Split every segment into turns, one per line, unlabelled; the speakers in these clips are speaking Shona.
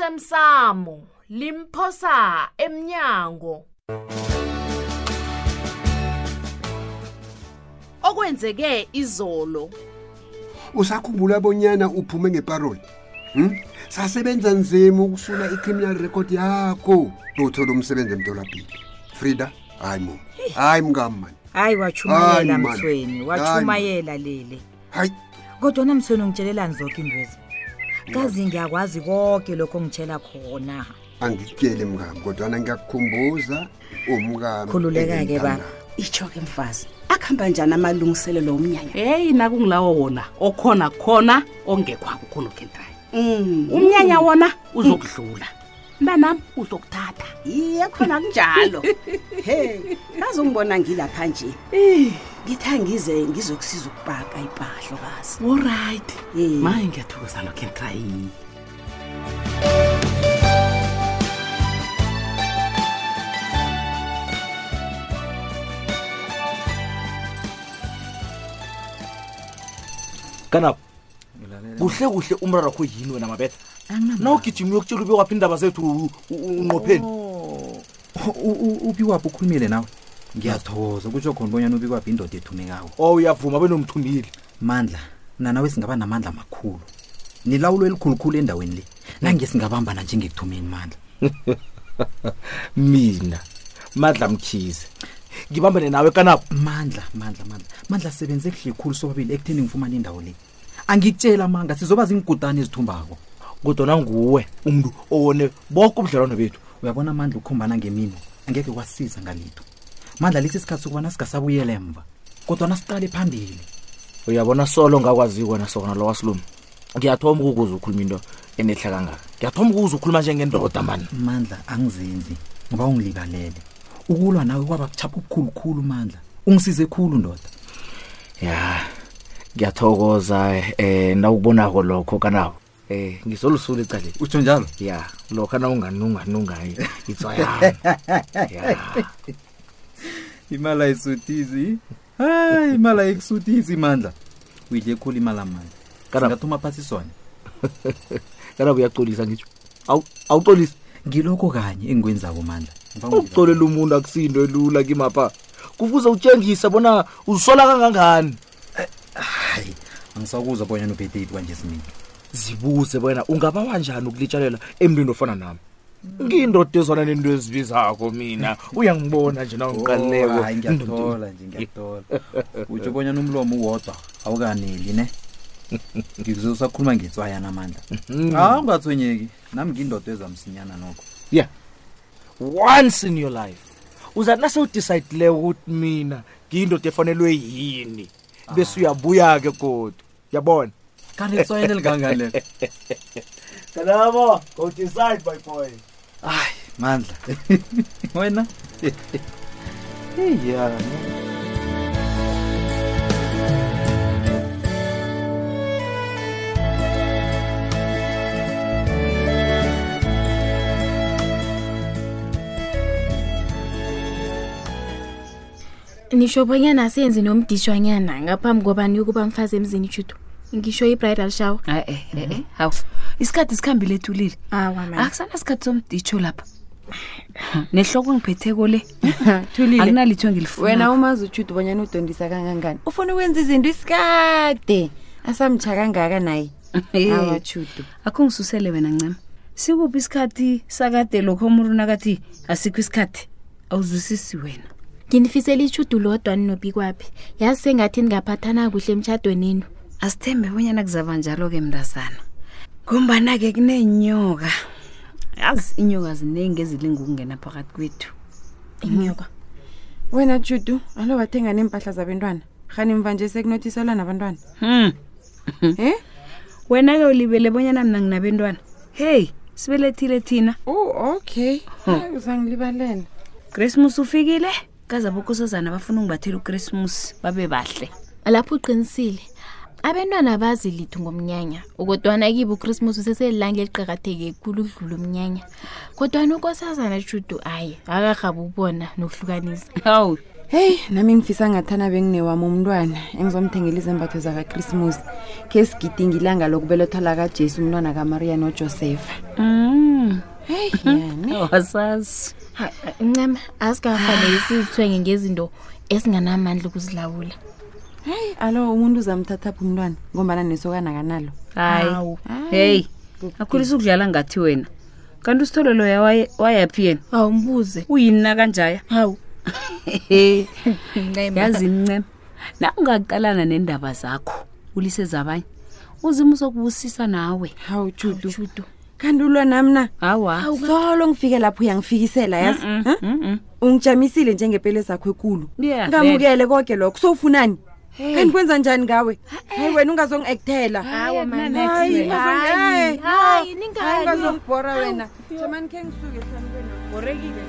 osemsamo limphosa emnyango okwenzeke izolo
usakhumbula bonyana uphume ngeparoli hm? sasebenza nzima ukusula i-criminal record yakho lothola umsebenzi emtolapili frida hayi mom hayi mngami mani
hayi
Hayi,
wachumayela
man.
mthweni
Hayi,
wachumayela lele
hayi
kodwa namthweni ungitshelelani zonke indwezi kazi ngiyakwazi konke lokho ongitshela khona
angikutsheli mngami kodwana ngiyakukhumbuza umngami
khululeka-ke baba
engimthandako.
itsho-ke mfazi akuhamba njani amalungiselelo omnyanya
heyi nakungilawo wona okhona khona ongekho akukhona okhendayo
um
umnyanya wona uzokudlula mntanam uzokuthatha
iye khona kunjalo he kaze ungibona ngilapha nje ngithi angize ngizokusiza ukupaka ipahlo kazi
olright
Eh.
maye ngiyathokoza nokhentrayi
kanabo kuhle kuhle umraro wakho yini wena mabetha na ugijima uyokutshela ube waphi indaba zethu u- u- unqopheni Oh.
ubiwaphi ukhulumile nawe ngiyathokoza kutsho khona ubonyana ubikwaphi indoda ethumekawo
o Oh, uyavuma benomthumile
mandla nanawe singaba namandla amakhulu nilawulo elikhulukhulu endaweni le nange singabambana njengekuthumeni mandla
mina madla mkhize ngibambane nawe kanabo
mandla mandla mandla mandla sebenze kuhle khulu sobabili ekutheni ngifumane indawo le angikutshela amanga sizoba zingigudane ezithumbako
kodwana nguwe umntu owone boke ubudlelwano bethu
uyabona mandla ukukhombana ngemino angeke kwasiza ngalitho mandla lesi sikhathi sokubana singasabuyela emva kodwa nasiqale phambili
uyabona solo ngakwaziyo wena sokona lo wasilumi ngiyathoma ukukuza ukhuluma into enehla kangaka ngiyathoma ukuza ukhuluma njengendoda mani
mandla angizenzi ngoba ungilibalele ukulwa nawe kwaba kuchapha obukhulukhulu mandla ungisize khulu ndoda
ya ngiyathokoza um nawukubonako lokho kanabo um ngisolusula ecaleni
utsho njalo
ya lokho na unganunganunga itswayami ya
imali ayisudizi hayi imali ayikusudizi mandla uyidle khulu imali amandla
Kana-
ngathoma phasi sona
kanabo uyacolisa ngitsho Awu- awucolisi
ngilokho kanye engikwenzako mandla Ngoba ungilibalele.
ukucolela umuntu akusinto elula kimapha kufuze utshengise bona uzisola kangangani
hayi angisakuzwa bonyana ubhede yiphi kwanje simini
zibuze wena ungabawa njani ukulitshalela emntwini ofana nami ngiyindoda ezwana nento ezibizako mina uyangibona nje nawungiqalileko
hayi Oh, ngiyathola nje ngiyathola utsho bonyana umlomo uwodwa awukaneli ne ngikuzosakhuluma ngetswayana amandla hawu ungathonyeki nami ngindoda ezamsinyana nokho
yeah once in your life uzathi nasewudicayidileko ukuthi mina ngiyindoda efanelwe yini bese uyabuya-ke kodwa yabona
kanti etswayana elikangani lelo
kanabo go decide my boy
hayi mandla wena
eya
nisho bonyana asenzi nomdishwanyana ngaphambi kobani yokuba mfazi emzini judo ngisho i-bridal shower
e-e e-e eh, hawu isikhathi sikhambile ethulile
awa
Ah.
man
akusanasikhathi somditsho lapha nehloko ngiphetheko le
thulile
akunalitho
wena
ngilifuna
umazi utshuda ubanyana udondisa kangangani ufuna ukwenza izinto isikade asamtsha kangaka naye awatshudu
akhungisusele wena ncema sikuphi isikhathi sakade lokho umuntu nakathi asikho isikhathi awuzwisisi wena
nginifisela ichudu lodwa ninobikwaphi yazi sengathi ningaphathana kuhle emtshadweninu
asithembe bonyana kuzaba njalo-ke mntazana ngombana-ke kunenyoka yazi inyoka ziningi ezilinga ukungena phakathi kwethu
inyoka
wena tshudu alo bathenga neempahla zabentwana rhani mva nje sekunothiselwa nabantwana
hmm.
em
wena-ke ulibele bonyana mna nginabentwana heyi sibelethile thina
o Oh, okay Hayi, uzangilibalela
krismus ufikile kazabokosazana bafuna ungibathela ukrismus babe bahle
lapho uqinisile abentwana bazi lithu ngomnyanya kodwana kibo ukrismus useselilanga eliqakatheke khulu ukudlula umnyanya kodwana ukosazana judu aye akarhabi ubona nokuhlukanisa
hawu
heyi nami ngifisa ngathana benginewami umntwana engizomthengela izembatho zakakrismus khe sigidinga ilanga lokubelethwa lakajesu umntwana kamariya nojosefa
Mm.
heyi
wasazi ncema asikafanele sizithwenge Ah. ngezinto esinganamandla ukuzilawula
heyi alo umuntu uzamthathapha umntwana ngombana nesokana kanalo
hayi heyi akhulisa ukudlala ngathi wena kanti usithole loya waye- wayaphi yena
awumbuze
uyini nakanjaya
hawu
yazi ncema nawungaqalana neendaba zakho ulise zabanye uzima uzokubusisa nawe
hawu judu kanti ulwa nami na
hawa
solo ngifike lapho uyangifikisela yazi Huh? ungijamisile njengepele zakho ekulu
Yeah,
ngamukele koke lokho sowufunani kanti kwenza njani ngawe hayi wena ungazongi-ekthela
Hayi, man,
Hayi,
next
ungazongi-
way.
hayi,
Hayi,
no.
ningani.
Hayi, ungazongibhora wena
Hawu.
jamani khe ngisuke hlanu kwenu borekile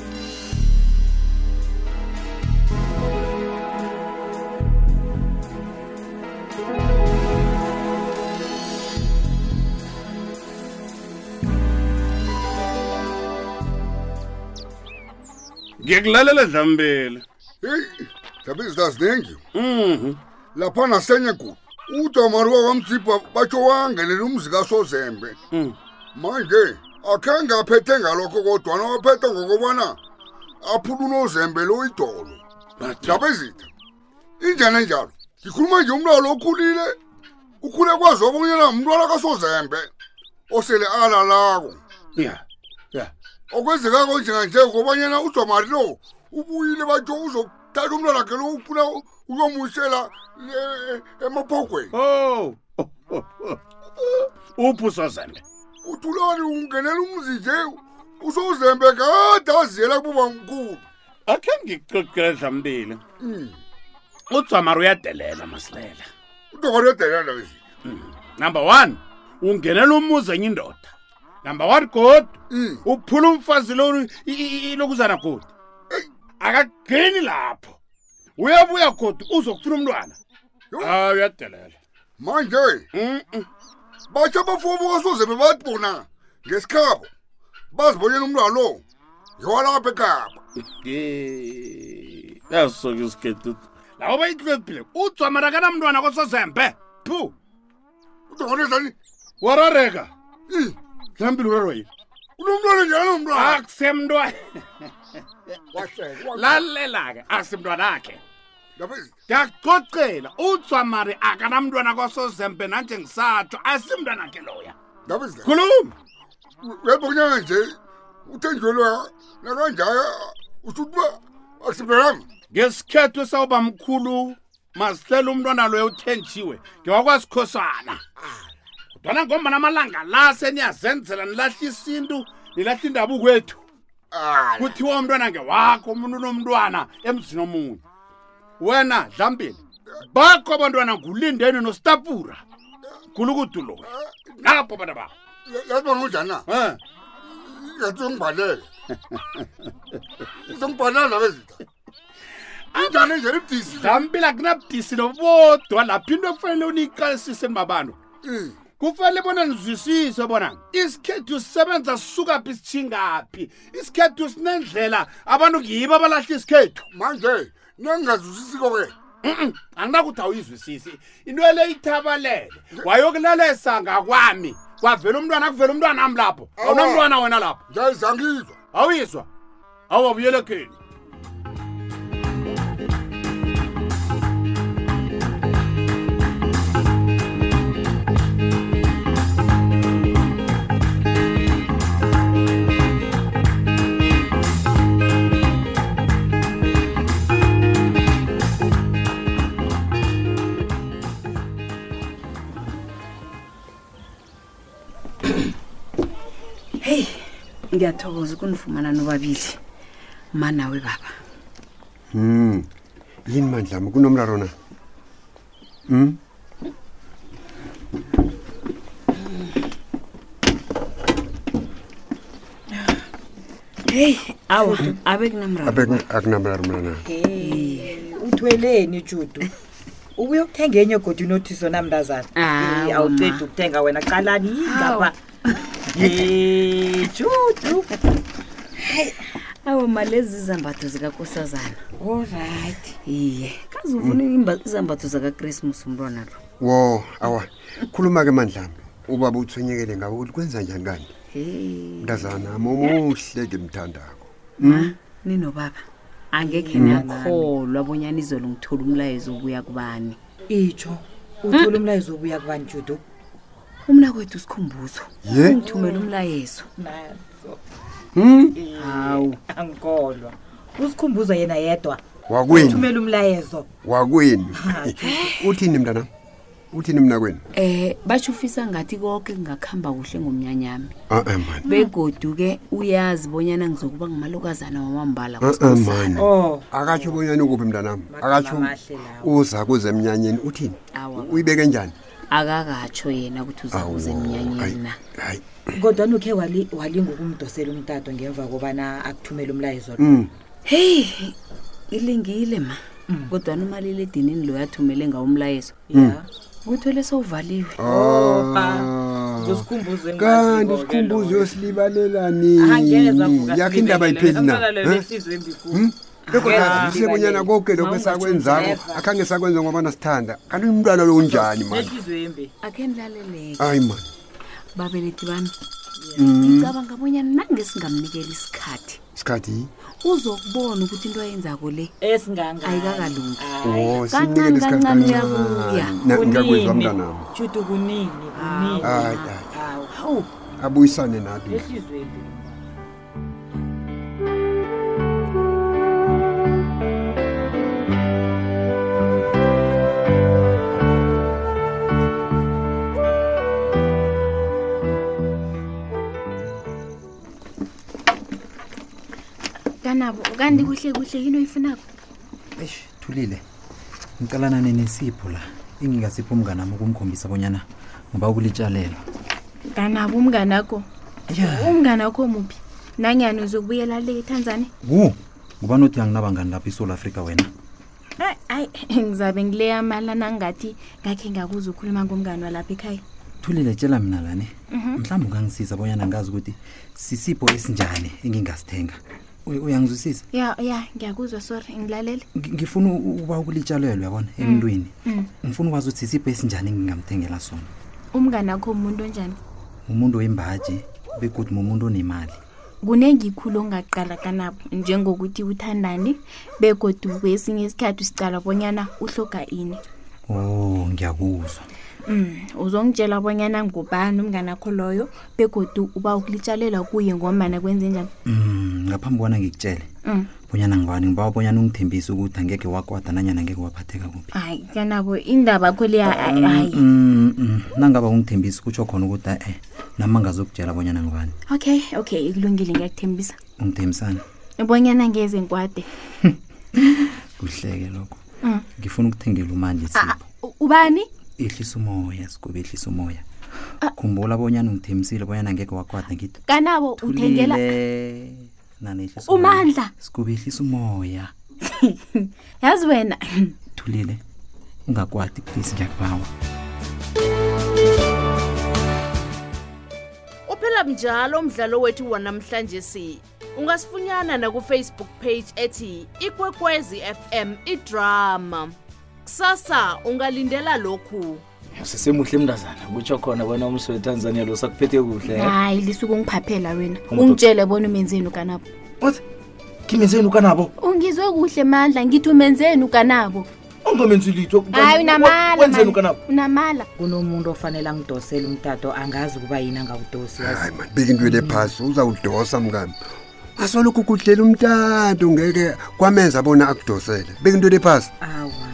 ngiyakulalela dlambele
heyi dabezita zinengi laphana senye ku udamaruba wamdzibha batsho wangenela umzi kasozembe manje akhange aphethe ngalokho kodwana waphetha ngokobana aphulula ozembe lo idolo dabezitha injani enjalo ngikhuluma nje umntwana lo ukhulile ukhule kwaziwa bonyana mntwana kasozembe osele alalako
ya ya
okwenzekako njenganje ngobanyana udomari lo ubuyile batsho uzokuthatha umntwana wakhe lo ufuna uyomuyisela eh, emaphogweni
o uphusozembe
uthulani ungenela umzi nje usozembe kade aziyela kububa mkhulu Hmm.
akhe ngikucocela dlambile udzwamari uyadelela masilela
udomari uyadelela
number one ungenela umuzi enye indoda number one godi uphula umfazi lo- i- i- i- lokuzana godi akageni lapho uyabuya godi uzokufuna umntwana Ah, hayi uyadelela
manje batsho abafubo bukasozembe bathi bona ngesikhabo bazibonyela umntwana lo yiwalapha ekhaba
Eh, yasuka isigedudu lawo bayitlwebhile udzwamara kanamntwana kosozembe phu
udokonesani
warareka dlambile urarwa yini
unomntwana njalo mntwana
akusemntwana lalela-ke asimntwanakhe ndiyakucocela udzwamari akanamntwana kosozembe nanje ngisatsho asimntwanakhe loya
dabezita
khuluma
uyabonyana nje uthenjelwa nakanjaya usutuba akusibelami
ngesikhethu sawuba mkhulu masihlela umntwana loyo uthenjiwe ngewakwasikhosana kodwana ngombana amalanga la seniyazenzela nilahla isintu nilahla indabu kwethu kuthiwa umntwana ngewakho umuntu unomntwana emzini omunye wena dlambile bakho abantwana ngulindeni nostapura gulukuduloya napho bana babo
yaziba ngunjani na ngathi uzongibhalela uzongibhalela nabezita
anjani njani ibudisi dlambile akunabudisi nobodwa lapho into ekufanele uniyiqalisise nibabantu kufanele bona nizwisise bona isikhethu sisebenza sisukaphi sitshingaphi isikhethu sinendlela abantu ngiyibo abalahla isikhethu
manje nengingazwisisiko-ke
anginakuthi awuyizwisisi into le ithabalele wayokulalesa ngakwami kwavela umntwana kuvela umntwana ami lapho awunamntwana wena lapho
njazangizwa
awuyizwa awabuyelekheni
heyi ngiyathokoza ukunifumana nobabili manawe baba
Hmm. Yini mandlami kunomraro na? Hmm.
heyi awa abe kunamraro
Abe akunamraro mina na.
uthweleni judu ubuye ukuthenga enye godi unothisi ona mntazana Eh, awucedi ukuthenga wena qalani yingapha ye judu
awa malezi izambatho zikakosazana
olright
iye kazi ufuna imba- izambatho zakakrismus umntwana lo
wo awa khuluma-ke mandlambe ubaba uthwenyekele ngawe ukuthi kwenza njani kanti
heyi
mntazana momuhle ke mthandako
ma ninobaba angekhe
Mm.
nakholwa bonyana izolo ngithola umlayezo obuya kubani
itsho uthole umlayezo obuya kubani judo
umna kwethu usikhumbuzo
Ye.
ngithumela umlayezo
Hmm?
hawu angikholwa Eh, usikhumbuza yena yedwa
Wakwenu.
uthumela umlayezo
wakwenu uthini mntanam uthini mna kwenu
um batsho ufisa ngathi konke kungakuhamba kuhle ngomnyanyami
Hmm.
a-a mani
begodu-ke uyazi bonyana ngizokuba ngumalukazana wamambala
a-a Uh-uh, mani akatsho bonyana ukuphi mntanam akatsho uza kuze emnyanyeni uthini uyibeke njani
akakatsho yena ukuthi uzakuze emnyanyeni na
hayi
kodwani ukhe wali- walinga ukumdosela umtato ngemva kobana akuthumele umlayezo lo
Mm.
heyi ilingile ma
Hmm.
kodwani umaliledinini lo yathumele ngawo umlayezo
Mm.
kuthole sowuvaliwe
Ah. kanti sikhumbuzo yosilibalelani yakho indaba ipheli na eh? Hmm?
Angeze
bekodazise bonyana
asibalele.
konke lokho
Mawungatjho
esakwenzako
never.
akhange sakwenza ngoba nasithanda kanti umntwana lo unjani mani
nezizwembi akhe nilaleleke
hayi mani
babelethi bami
Mm.
ngicabanga bonyana nangesingamnikela isikhathi
sikhathi
uzokubona ukuthi into ayenzako le ayikakalungi
Oh,
kancani
simnikele isikhathi
kancani uyabuya
kancani. Na- ngiyakuzwa mntanami
judo kunini
hayi hayi
hawu
abuyisane nathi
ehlizweni
kanabo kanti kuhle kuhle yini oyifunako
eish thulile ngicalana nenesipho la engingasipho umnganami ukumkhombisa bonyana ngoba ukulitshalela
kanabo umnganakho umnganakho muphi nanyani uzokubuyela le etanzania
ku ngoba nothi anginabangani lapha eSouth africa wena
Ay, ayi ngizabe ngileya mala nangingathi ngakhe ngakuza ukhuluma ngomngani walapha ekhaya
thulile tshela mina lani
Mhm.
mhlawumbe ungangisiza bonyana ngazi ukuthi sisipho esinjani engingasithenga Uy- uyangizwisisa
ya ya ngiyakuzwa sorry ngilalele
Ngi- ngifuna u- ukuba ukulitshalelwe yabona
Mm.
emntwini
Mm.
ngifuna ukwazi ukuthi sisipho esinjani engingamthengela sona
umnganakho umuntu onjani
umuntu oyimbaji begodwa mumuntu onemali
kunengikhulu ongaqala kanabo njengokuthi uthandani begodu kwesinye isikhathi usicala bonyana uhloga ini
oh ngiyakuzwa
um uzongitshela bonyana ngubani umnganakho loyo begodu uba ukulitshalela kuye ngombana kwenze njani
um ngaphambi kobana ngikutshele
um
bonyana ngibani ngiba bonyana ungithembise ukuthi angeke wakwada nanyana angeke waphatheka kuphi
hayi kanabo indaba kho leya ayi ayi.
Mm, mm, nangaba ungithembise kutsho khona ukuthi e-e nama ngazokutshela bonyana ngibani
okay okay kulungile ngiyakuthembisa
ungithembisani
bonyana ngeze ngikwade
kuhleke lokho
Mm.
ngifuna ukuthengela umandla isipho
Ah, U- ubani
ehlisa umoya sigube ehlisa umoya
Ah.
khumbula bonyana ungithembisile bonyana ngeke wakwada ngithi
kanabo uthengela
"Thulile, nana ehlisa umoya."
umandla
sigube ehlisa umoya
yazi wena
thulile ungakwadi please ngiyakubawa
uphela mnjalo umdlalo wethu wanamhlanje si ungasifunyana nakufacebook page ethi ikwekwezi fm idrama kusasa ungalindela lokhu
sisemuhle mndazana kutsho khona wena umsi wetanzania lo sakuphethe kuhle eh?
hayi lisuke ungiphaphela wena
Umudo-
ungitshele bona umenzeni ukanabo
kimenzeni ukanabo
ungizwe kuhle mandla ngithi umenzeni ukanabo
ongamenzi litho
hayi unamala
wenzeni
man.
ukanabo
unamala
kunomuntu ofanele angidosele umtato angazi ukuba yini angawudosi
hayi mani beka into
Mm.
le phasi uzawudosa mngami asolokhu kudlela umtato ngeke kwamenza bona akudosele beka into le phasi
awa